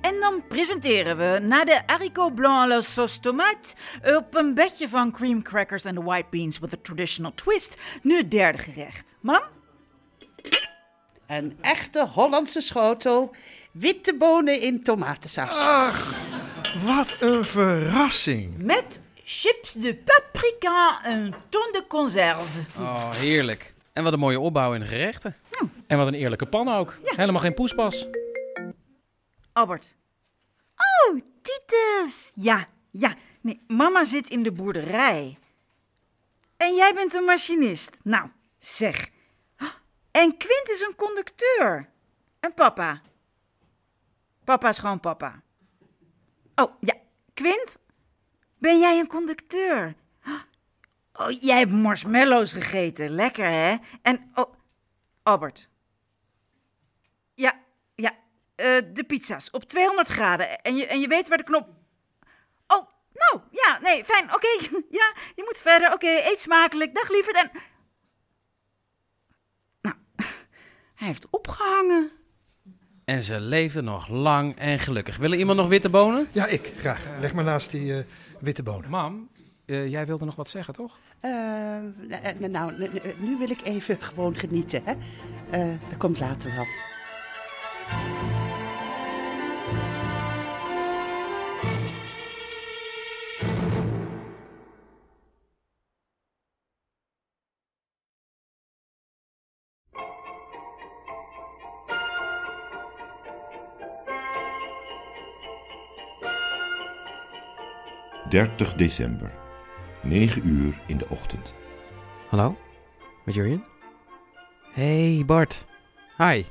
En dan presenteren we na de haricot blanc à la sauce tomate op een bedje van cream crackers en white beans with a traditional twist nu het derde gerecht. Mam?
Een echte Hollandse schotel, witte bonen in tomatensaus.
Ach, wat een verrassing.
Met chips de paprika en ton de conserve.
Oh, heerlijk. En wat een mooie opbouw in de gerechten. En wat een eerlijke pan ook. Helemaal geen poespas.
Albert. Oh, Titus. Ja, ja. Nee, mama zit in de boerderij. En jij bent een machinist. Nou, zeg. En Quint is een conducteur. En papa. Papa is gewoon papa. Oh, ja. Quint, ben jij een conducteur? Oh, jij hebt marshmallows gegeten. Lekker, hè? En, oh, Albert. Ja, ja, eh, de pizza's op 200 graden. En je, en je weet waar de knop... Oh, nou, ja, nee, fijn, oké. ja, je moet verder, oké, eet smakelijk. Dag, lieverd. En... Nou, hij heeft opgehangen.
En ze leefden nog lang en gelukkig. Wil er iemand nog witte bonen?
Ja, ik, graag. Leg maar naast die eh, witte bonen.
Mam, eh, jij wilde nog wat zeggen, toch?
Eh, eh, nou, n- n- nu wil ik even gewoon genieten. Hè? Eh, dat komt later wel.
.30 30 december, 9 uur in de ochtend.
Hallo, met Jurjen? Hey Bart. Hi.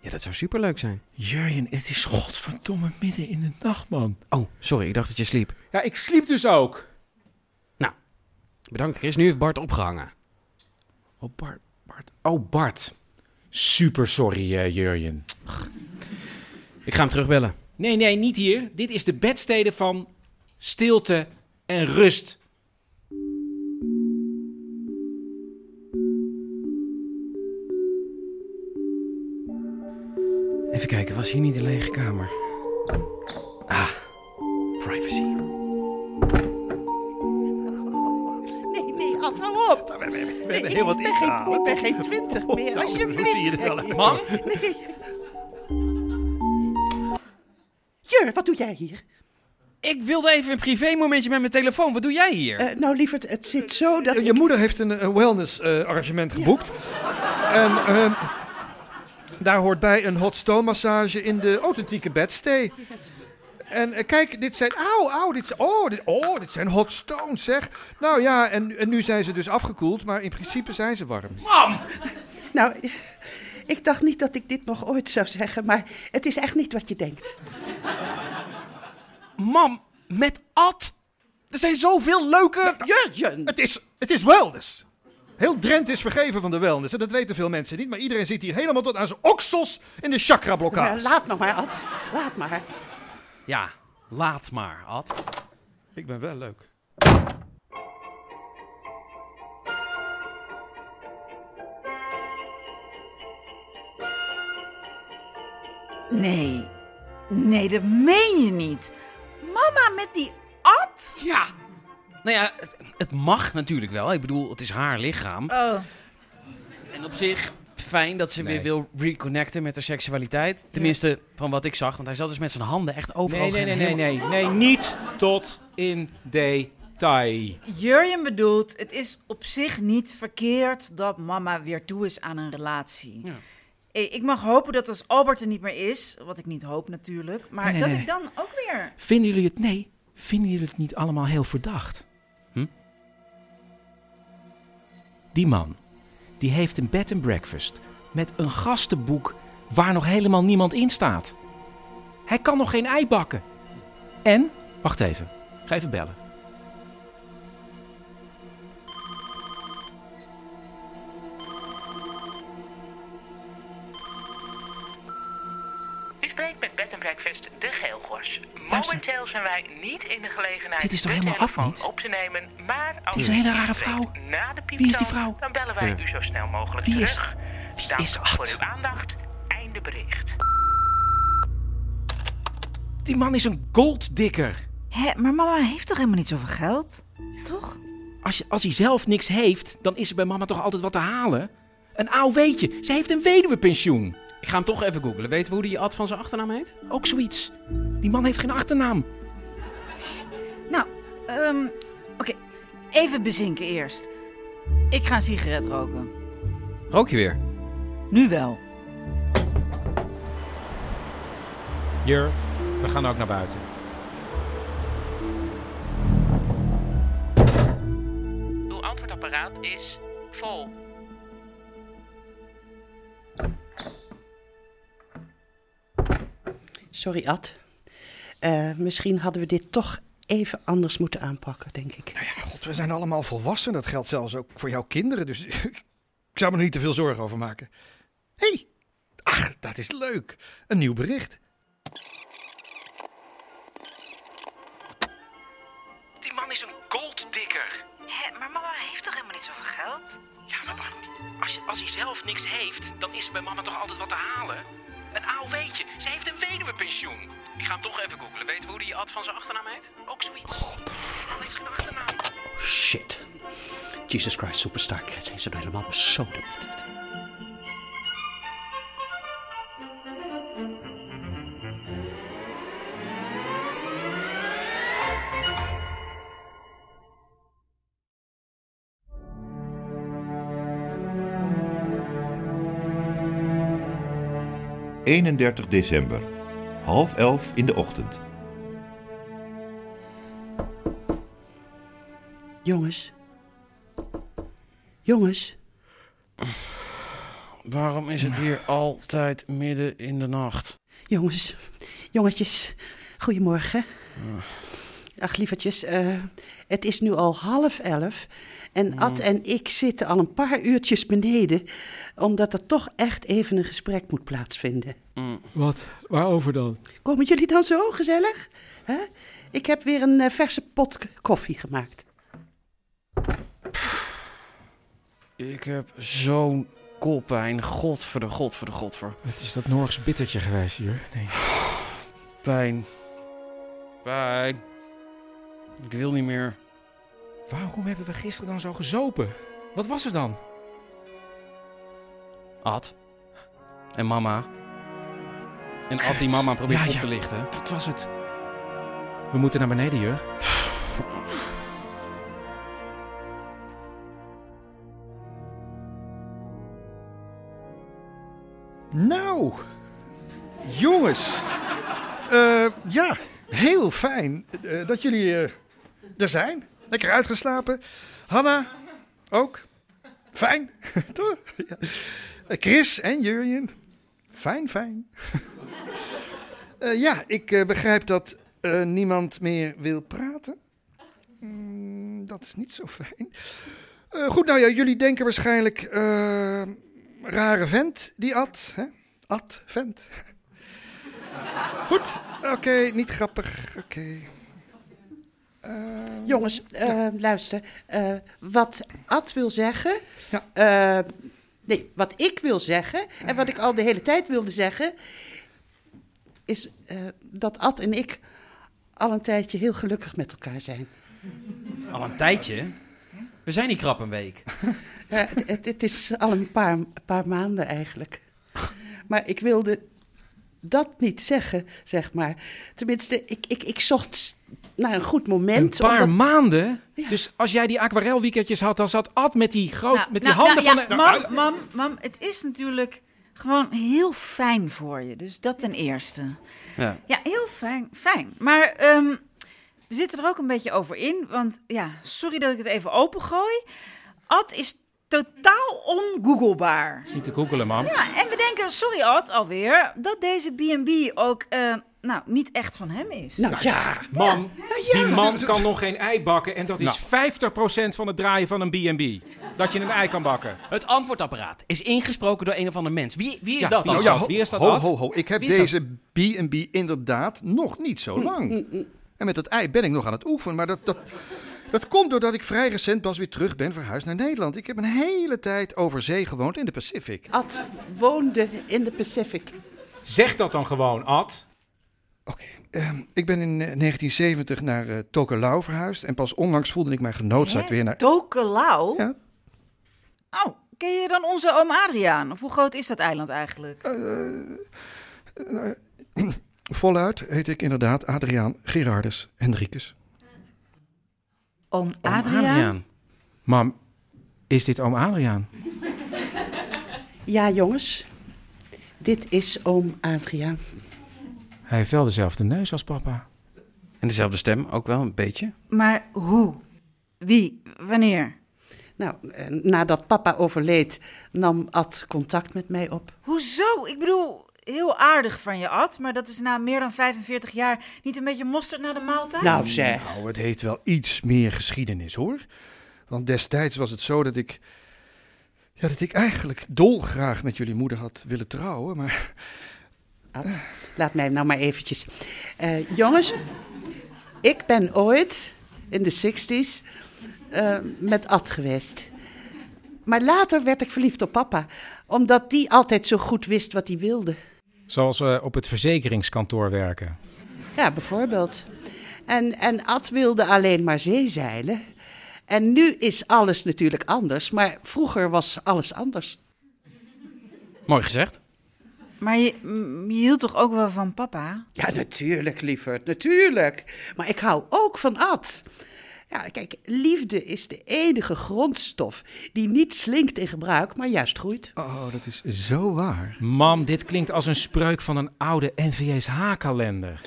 Ja, dat zou superleuk zijn.
Jurjen, het is godverdomme midden in de nacht, man.
Oh, sorry, ik dacht dat je sliep.
Ja, ik sliep dus ook.
Nou, Bedankt Chris, nu heeft Bart opgehangen.
Oh, Bart. Bart. Oh, Bart. Super sorry, eh, Jurjen.
Ik ga hem terugbellen.
Nee, nee, niet hier. Dit is de bedstede van stilte en rust.
Even kijken, was hier niet een lege kamer? Ah, privacy.
Nee, nee, Ad, hou op.
we
Nee,
hebben
ik,
heel wat
ben geen,
ingehaald.
ik ben geen twintig meer,
nou, zo
alsjeblieft.
zie je het wel
Henkie.
uit, Man?
Nee. Jur, wat doe jij hier?
Ik wilde even een privémomentje met mijn telefoon. Wat doe jij hier?
Eh, nou, lieverd, het zit zo dat
Je moeder heeft een eh, wellness eh, arrangement geboekt. En ehm, daar hoort bij een hot stone massage in de authentieke bedstee. En eh, kijk, dit zijn. Auw, auw, dit, zijn- oh, dit, oh, dit zijn hot stones, zeg. Nou ja, en, en nu zijn ze dus afgekoeld, maar in principe zijn ze warm.
Mam! Nou, ik dacht niet dat ik dit nog ooit zou zeggen, maar het is echt niet wat je denkt.
Mam, met Ad? Er zijn zoveel leuke...
Jurjen!
Het is, het is wellness. Heel Drenthe is vergeven van de wellness. En dat weten veel mensen niet. Maar iedereen zit hier helemaal tot aan zijn oksels in de
Maar
chakra-blokkade.
laat nog maar, Ad. Laat maar.
Ja, laat maar, Ad.
Ik ben wel leuk.
Nee, nee, dat meen je niet. Mama met die at?
Ja. Nou ja, het, het mag natuurlijk wel. Ik bedoel, het is haar lichaam.
Oh.
En op zich fijn dat ze weer wil reconnecten met haar seksualiteit. Tenminste, van wat ik zag. Want hij zat dus met zijn handen echt overal...
Nee, nee, nee,
en
nee, nee,
helemaal-
nee, niet tot in detail.
Jurjen bedoelt, het is op zich niet verkeerd dat mama weer toe is aan een relatie. I- Ik mag hopen dat als Albert er niet meer is, wat ik niet hoop natuurlijk, maar
Nee, nee,
dat
nee,
ik dan ook weer...
Vinden jullie het... Nee, vinden jullie het niet allemaal heel verdacht? Hm? Die man, die heeft een bed and breakfast met een gastenboek waar nog helemaal niemand in staat. Hij kan nog geen ei bakken. En, wacht even, ga even bellen.
U spreekt met Bed and Breakfast de Geelgors. Momenteel zijn wij niet in de gelegenheid
Dit is toch
de
helemaal Ad
telefoon
niet?
op te nemen, maar als
is
u
een hele
iets
rare
weet
vrouw.
Na de
Wie is die
pieptoon,
vrouw?
Dan bellen wij
Ja.
u zo snel mogelijk
Wie is-
terug. Wie Dank is voor uw aandacht. Einde bericht.
Die man is een golddikker.
Hè, maar mama heeft toch helemaal niet zoveel geld? Toch?
Als, je, als hij zelf niks heeft, dan is er bij mama toch altijd wat te halen? Een AOW'tje. Ze heeft een weduwepensioen. Ik ga hem toch even googlen. Weten we hoe die Ad van zijn achternaam heet? Ook zoiets. Die man heeft geen achternaam.
Nou, ehm, oké, even bezinken eerst. Ik ga een sigaret roken.
Rook je weer?
Nu wel.
Jur, we gaan ook naar buiten.
Uw antwoordapparaat is vol.
Sorry, Ad. Eh, misschien hadden we dit toch even anders moeten aanpakken, denk ik.
God, we zijn allemaal volwassen. Dat geldt zelfs ook voor jouw kinderen. Dus ik zou me er niet te veel zorgen over maken. Hé, hey, ach, dat is leuk. Een nieuw bericht.
Die man is een golddikker.
Hè, maar mama heeft toch helemaal niet zoveel geld?
Ja, maar waarom niet? Als, je- als hij zelf niks heeft, dan is er bij mama toch altijd wat te halen? Een AOW'tje. Ze heeft een weduwepensioen. Ik ga hem toch even googlen. Weten we hoe die Ad van zijn achternaam heet? Ook zoiets. Die man heeft geen achternaam.
Shit. Jesus Christ Superstar Kids heeft ze nou helemaal besoden.
december. 31 december. Half elf in de ochtend.
Jongens. Jongens.
Waarom is het hier altijd midden in de nacht?
Jongens, jongetjes, goedemorgen.
Ah.
Ach, lievertjes, eh, het is nu al half
Mm.
elf en Ad en ik zitten al een paar uurtjes beneden, omdat er toch echt even een gesprek moet plaatsvinden.
Mm.
Wat? Waarover dan?
Komen jullie dan zo gezellig? Hè? Ik heb weer een eh, verse pot k- koffie gemaakt.
Ik heb zo'n koppijn. Godverde, godverde, godver.
Het is dat Norgs bittertje geweest hier. Nee.
Pijn. Pijn. Ik wil niet meer. Waarom hebben we gisteren dan zo gezopen? Wat was er dan?
Ad. En mama. En Ad die mama probeert
Ja,
op
ja,
te lichten.
Dat was het. We moeten naar beneden, Jur.
Nou, jongens. Eh, ja, heel fijn eh, dat jullie eh, er zijn. Lekker uitgeslapen. Hanna, ook. Fijn, toch? Ja. Eh, Chris en Jurjen. Fijn, fijn. Eh, ja, ik eh, begrijp dat eh, niemand meer wil praten. Mm, dat is niet zo fijn. Eh, goed, nou ja, jullie denken waarschijnlijk... eh, rare vent, die Ad. Hè? Ad, vent. goed, oké, niet grappig. Oké.
Jongens, eh, luister. eh, wat Ad wil zeggen. eh, nee, wat ik wil zeggen. En wat ik al de hele tijd wilde zeggen. Is eh, dat Ad en ik al een tijdje heel gelukkig met elkaar zijn.
Al een tijdje. We zijn niet krap een week.
Ja, Eh, het, het, het is al een paar, paar maanden eigenlijk. Maar ik wilde dat niet zeggen, zeg maar. Tenminste, ik, ik, ik zocht s- naar een goed
Een
moment.
paar
omdat-
maanden? Dus als jij die aquarelweekendjes had, dan zat Ad met die, groot, met die
Nou,
handen
nou,
van...
ja,
de-
Mam, mam, mam, het is natuurlijk gewoon heel fijn voor je. Dus dat ten eerste.
Ja.
Ja, heel fijn. fijn. Maar ehm, we zitten er ook een beetje over in. Want ja, sorry dat ik het even opengooi. Ad is totaal ongooglebaar.
Is niet te googelen, mam.
Ja, en we denken, sorry Ad, alweer, dat deze B&B ook eh, nou, niet echt van hem is.
Mam, die man
Dat-
kan nog geen ei bakken en dat
Nou.
is 50% van het draaien van een B&B. Dat je een ei kan bakken.
Het antwoordapparaat is ingesproken door een of ander mens. Wie, wie is
Ja,
dat dan?
nou ja,
Ad?
ho-
wie is dat
ho,
Ad?
ho, ho. Ik heb
Wie is dat?
deze B&B inderdaad nog niet
Hm,
zo lang. En met dat ei ben ik nog aan het oefenen. Maar dat, dat, dat komt doordat ik vrij recent pas weer terug ben verhuisd naar Nederland. Ik heb een hele tijd over zee gewoond in de Pacific.
Ad woonde in de Pacific.
Zeg dat dan gewoon, Ad.
Ehm, ik ben in eh, 1970 naar eh, Tokelau verhuisd. En pas onlangs voelde ik mij genoodzaakt weer naar...
Tokelau? Oh, ken je dan onze oom Adriaan? Of hoe groot is dat eiland eigenlijk?
Voluit heet ik inderdaad Adriaan Gerardus Hendrikus.
oom Adriaan?
Mam, is dit oom Adriaan?
Ja, jongens. Dit is oom Adriaan.
Hij heeft wel dezelfde neus als papa.
En dezelfde stem ook wel, een beetje.
Maar hoe? Wie? Wanneer?
Nou, eh, nadat papa overleed, nam Ad contact met mij op.
Hoezo? Ik bedoel, heel aardig van je, Ad. Maar dat is na meer dan 45 jaar niet een beetje mosterd naar de maaltijd?
Nou, het heeft wel iets meer geschiedenis, hoor. Want destijds was het zo dat ik... Ja, dat ik eigenlijk dolgraag met jullie moeder had willen trouwen, maar...
Ad, laat mij nou maar eventjes. Eh, jongens, ik ben ooit in de 60s eh, met Ad geweest. Maar later werd ik verliefd op papa, omdat die altijd zo goed wist wat hij wilde.
Zoals eh, op het verzekeringskantoor werken.
Ja, bijvoorbeeld. En, en Ad wilde alleen maar zeezeilen. En nu is alles natuurlijk anders, maar vroeger was alles anders.
Mooi gezegd.
Maar je, m, je hield toch ook wel van papa?
Ja, natuurlijk, lieverd, natuurlijk. Maar ik hou ook van Ad. Ja, kijk, liefde is de enige grondstof die niet slinkt in gebruik, maar juist groeit.
Oh, dat is zo waar.
Mam, dit klinkt als een spreuk van een oude NVSH-kalender.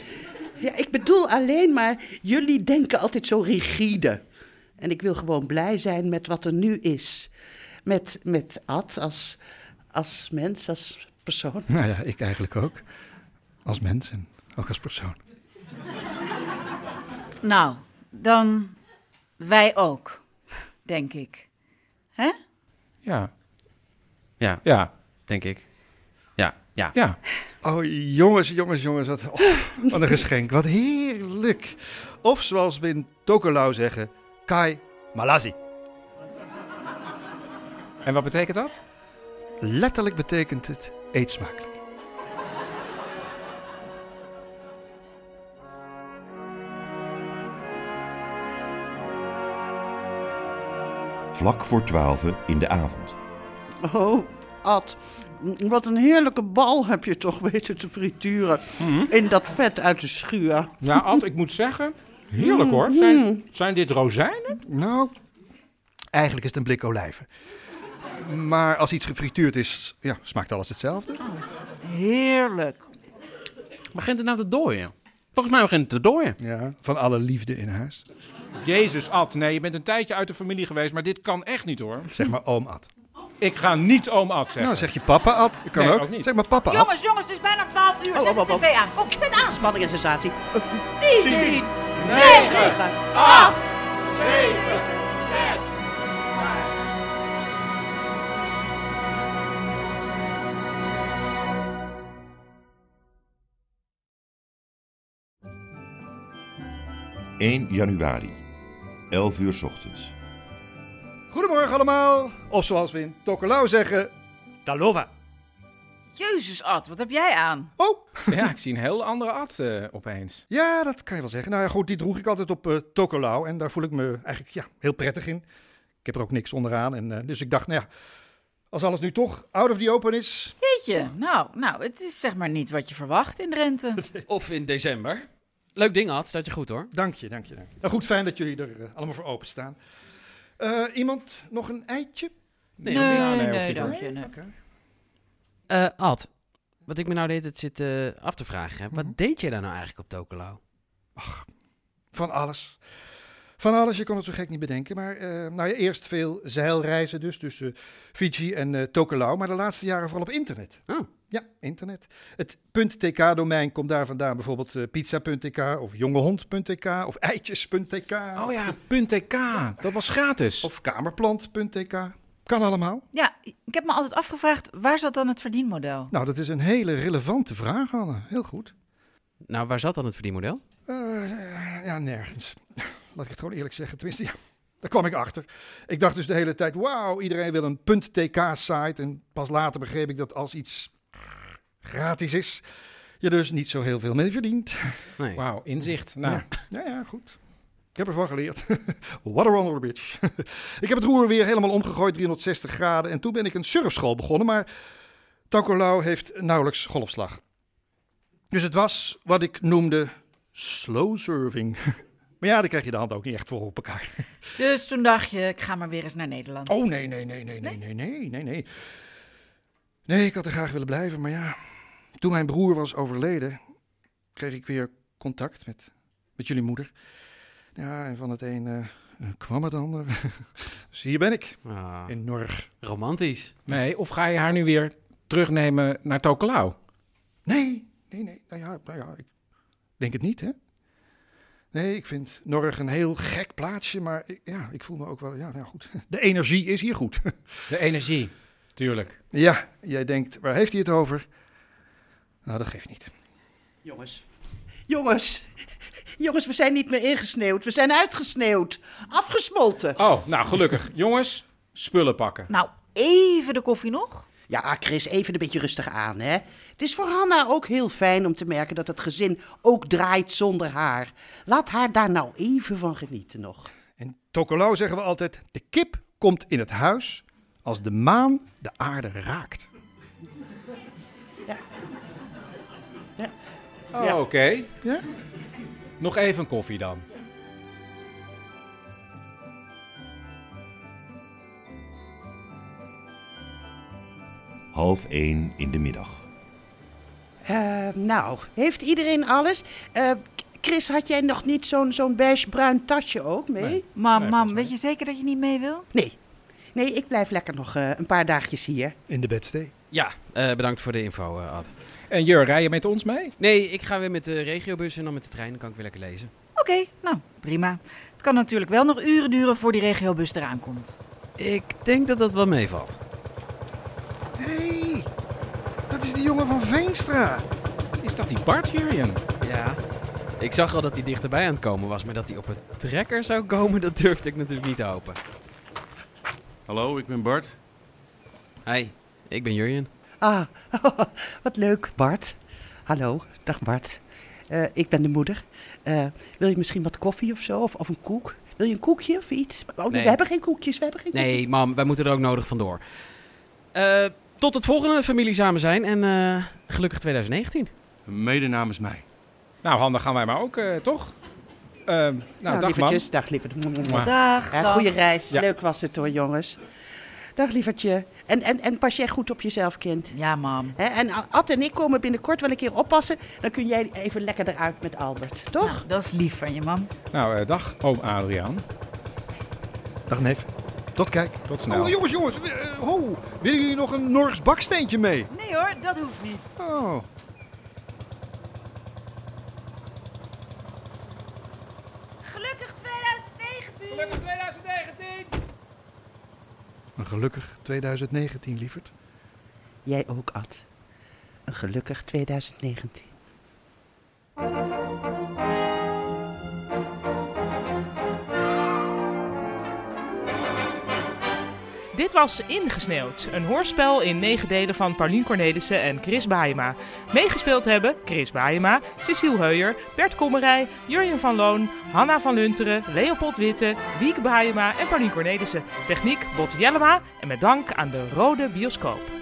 Ja, ik bedoel alleen maar, jullie denken altijd zo rigide. En ik wil gewoon blij zijn met wat er nu is. Met, met Ad als, als mens, als persoon.
Nou ja, ik eigenlijk ook. Als mens en ook als persoon.
Nou, dan wij ook, denk ik. Hè?
Ja.
Ja.
Ja.
Denk ik. Ja. Ja.
Ja.
Oh, jongens, jongens, jongens. Wat, oh, wat een geschenk. Wat heerlijk. Of zoals we in Tokelau zeggen, Kai Malazi.
En wat betekent dat?
Letterlijk betekent het eet smakelijk.
vlak voor twaalfen in de avond.
Oh, Ad, wat een heerlijke bal heb je toch weten te frituren.
Hmm?
In dat vet uit de schuur.
Ja, Ad, ik moet zeggen, heerlijk
Mm.
hoor. Zijn, zijn dit rozijnen?
Nou, eigenlijk is het een blik olijven. Maar als iets gefrituurd is, ja, smaakt alles hetzelfde.
Heerlijk. Begint het nou te dooien? Volgens mij begint het te dooien.
Ja, van alle liefde in huis.
Jezus, Ad, nee, je bent een tijdje uit de familie geweest, maar dit kan echt niet hoor.
Zeg maar oom Ad.
Ik ga niet oom Ad zeggen.
Nou, zeg je papa Ad. Dat kan
Nee,
ook.
ook niet.
Zeg maar papa Ad.
Jongens, jongens, het is bijna 12 uur.
Oh,
Zet
oh,
de
oh,
tv aan. Kom, zet aan.
Spanning en sensatie.
10,
10,
9, 8,
7,
6.
Eén 1 januari, 11 uur 's ochtends.
Goedemorgen allemaal. Of zoals we in Tokelau zeggen, Talova.
Jezus, Ad, wat heb jij aan?
Oh.
Ja, ik zie een heel andere Ad eh, opeens.
Ja, dat kan je wel zeggen. Nou ja, goed, die droeg ik altijd op eh Tokelau. En daar voel ik me eigenlijk ja, heel prettig in. Ik heb er ook niks onderaan. En, eh, dus ik dacht, nou ja, als alles nu toch out of the open is...
Weet je, nou, nou, het is zeg maar niet wat je verwacht in Drenthe.
Of in december. Leuk ding, Ad. Dat je goed hoor.
Dank je, dank je. Dank je. Nou goed, fijn dat jullie er eh, allemaal voor openstaan. Eh iemand nog een eitje?
Nee, Nee, hoor niet. nee, nee, dank je,
Nee?
nee.
Oké.
Eh, Ad, wat ik me nou de hele tijd zit eh, af te vragen. hè, Wat deed je daar nou eigenlijk op Tokelau?
Van alles. Van alles, je kon het zo gek niet bedenken. Maar eh, nou ja, eerst veel zeilreizen dus tussen Fiji en eh, Tokelau. Maar de laatste jaren vooral op internet. Ja, internet. Het .tk-domein komt daar vandaan. Bijvoorbeeld eh, pizza.tk of jongehond.tk of eitjes.tk. Oh
ja, .tk. Dat was gratis.
Of kamerplant.tk. Kan allemaal.
Ja, ik heb me altijd afgevraagd, waar zat dan het verdienmodel?
Nou, dat is een hele relevante vraag, Anne. Heel goed.
Nou, waar zat dan het verdienmodel?
Eh, ja, nergens. Laat ik het gewoon eerlijk zeggen. Tenminste, ja, daar kwam ik achter. Ik dacht dus de hele tijd, wauw, iedereen wil een .tk-site. En pas later begreep ik dat als iets gratis is, je dus niet zo heel veel mee verdient.
Wauw, inzicht. Nou,
Ja. Ja, ja, goed. Ik heb ervan geleerd. What a on bitch. ik heb het roer weer helemaal omgegooid, 360 graden. En toen ben ik een surfschool begonnen, maar Tokelau heeft nauwelijks golfslag. Dus het was wat ik noemde slow surfing. maar ja, daar krijg je de hand ook niet echt voor op elkaar.
Dus toen dacht je, ik ga maar weer eens naar Nederland.
Oh, nee, nee, nee, nee, nee, nee, nee, nee, nee. Nee, ik had er graag willen blijven, maar ja. Toen mijn broer was overleden, kreeg ik weer contact met, met jullie moeder. Ja, en van het een eh, eh, kwam het ander. dus hier ben ik. In Norg.
Romantisch.
nee, of ga je haar nu weer terugnemen naar Tokelau?
Nee, nee, nee. Nou ja, nou ja, ik denk het niet, hè? Nee, ik vind Norg een heel gek plaatsje, maar ik- ja, ik voel me ook wel... Ja, nou ja, goed. De energie is hier goed.
De energie, tuurlijk.
ja, jij denkt, waar heeft hij het over? Nou, dat geeft niet.
Jongens, jongens, jongens, we zijn niet meer ingesneeuwd. We zijn uitgesneeuwd. Afgesmolten.
Oh, nou gelukkig. Jongens, spullen pakken.
Nou, even de koffie nog.
Ja, Chris, even een beetje rustig aan, hè. Het is voor Hanna ook heel fijn om te merken dat het gezin ook draait zonder haar. Laat haar daar nou even van genieten nog.
In Tokelau zeggen we altijd: de kip komt in het huis als de maan de aarde raakt.
Oh,
Ja.
oké.
Ja?
Nog even een koffie dan.
Half 1 in de middag.
Eh, nou, heeft iedereen alles? Eh, Chris, had jij nog niet zo'n zo'n beige-bruin tasje ook mee?
Nee. Mam, mam, weet je zeker dat je niet mee wil?
Nee. Nee, ik blijf lekker nog eh, een paar dagjes hier.
In de bedstee.
Ja, eh, bedankt voor de info, eh, Ad.
En Jur, rij je met ons mee?
Nee, ik ga weer met de regiobus en dan met de trein. Dan kan ik weer lekker lezen.
Oké, nou, prima. Het kan natuurlijk wel nog uren duren voor die regiobus eraan komt.
Ik denk dat dat wel meevalt.
Hé, hey, dat is die jongen van Veenstra.
Is dat die Bart, Jurjen?
Ja. Ik zag al dat hij dichterbij aan het komen was, maar dat hij op een trekker zou komen, dat durfde ik natuurlijk niet te hopen.
Hallo, ik ben Bart.
Hi, ik ben Jurjen.
Ah, wat leuk, Bart. Hallo, dag Bart. Eh, ik ben de moeder. Eh, wil je misschien wat koffie of zo? Of, of een koek? Wil je een koekje of iets? Oh,
Nee.
We hebben geen koekjes, we hebben geen
Nee, mam, wij moeten er ook nodig vandoor. Eh, tot het volgende familie samen zijn en eh, gelukkig 2019.
Mede namens mij.
Nou, Han, dan gaan wij maar ook, eh, toch? Ehm, nou, dag,
lievertjes,
man.
dag lieverd.
Mwah.
Dag,
dag.
goede Eh, reis.
Ja.
Leuk was het hoor, jongens. Dag lievertje. En, en, en pas jij goed op jezelf, kind.
Ja, mam.
En Ad en ik komen binnenkort wel een keer oppassen. Dan kun jij even lekker eruit met Albert, toch?
dat is lief van je, mam.
Nou, eh, dag, oom Adriaan.
Dag, neef. Tot kijk.
Tot
Oh, jongens, jongens. eh, ho, willen jullie nog een Norgs baksteentje mee?
Nee hoor, dat hoeft niet.
Oh.
Gelukkig 2019!
Gelukkig 2019!
Een gelukkig 2019, lieverd.
Jij ook, Ad. Een gelukkig 2019.
Dit was Ingesneeuwd, een hoorspel in negen delen van Paulien Cornelissen en Chris Baaema. Meegespeeld hebben Chris Baaema, Cecile Heuyer, Bert Kommerij, Jurjen van Loon, Hanna van Lunteren, Leopold Witte, Wieke Baaema en Paulien Cornelissen. Techniek Bot Jellema en met dank aan de Rode Bioscoop.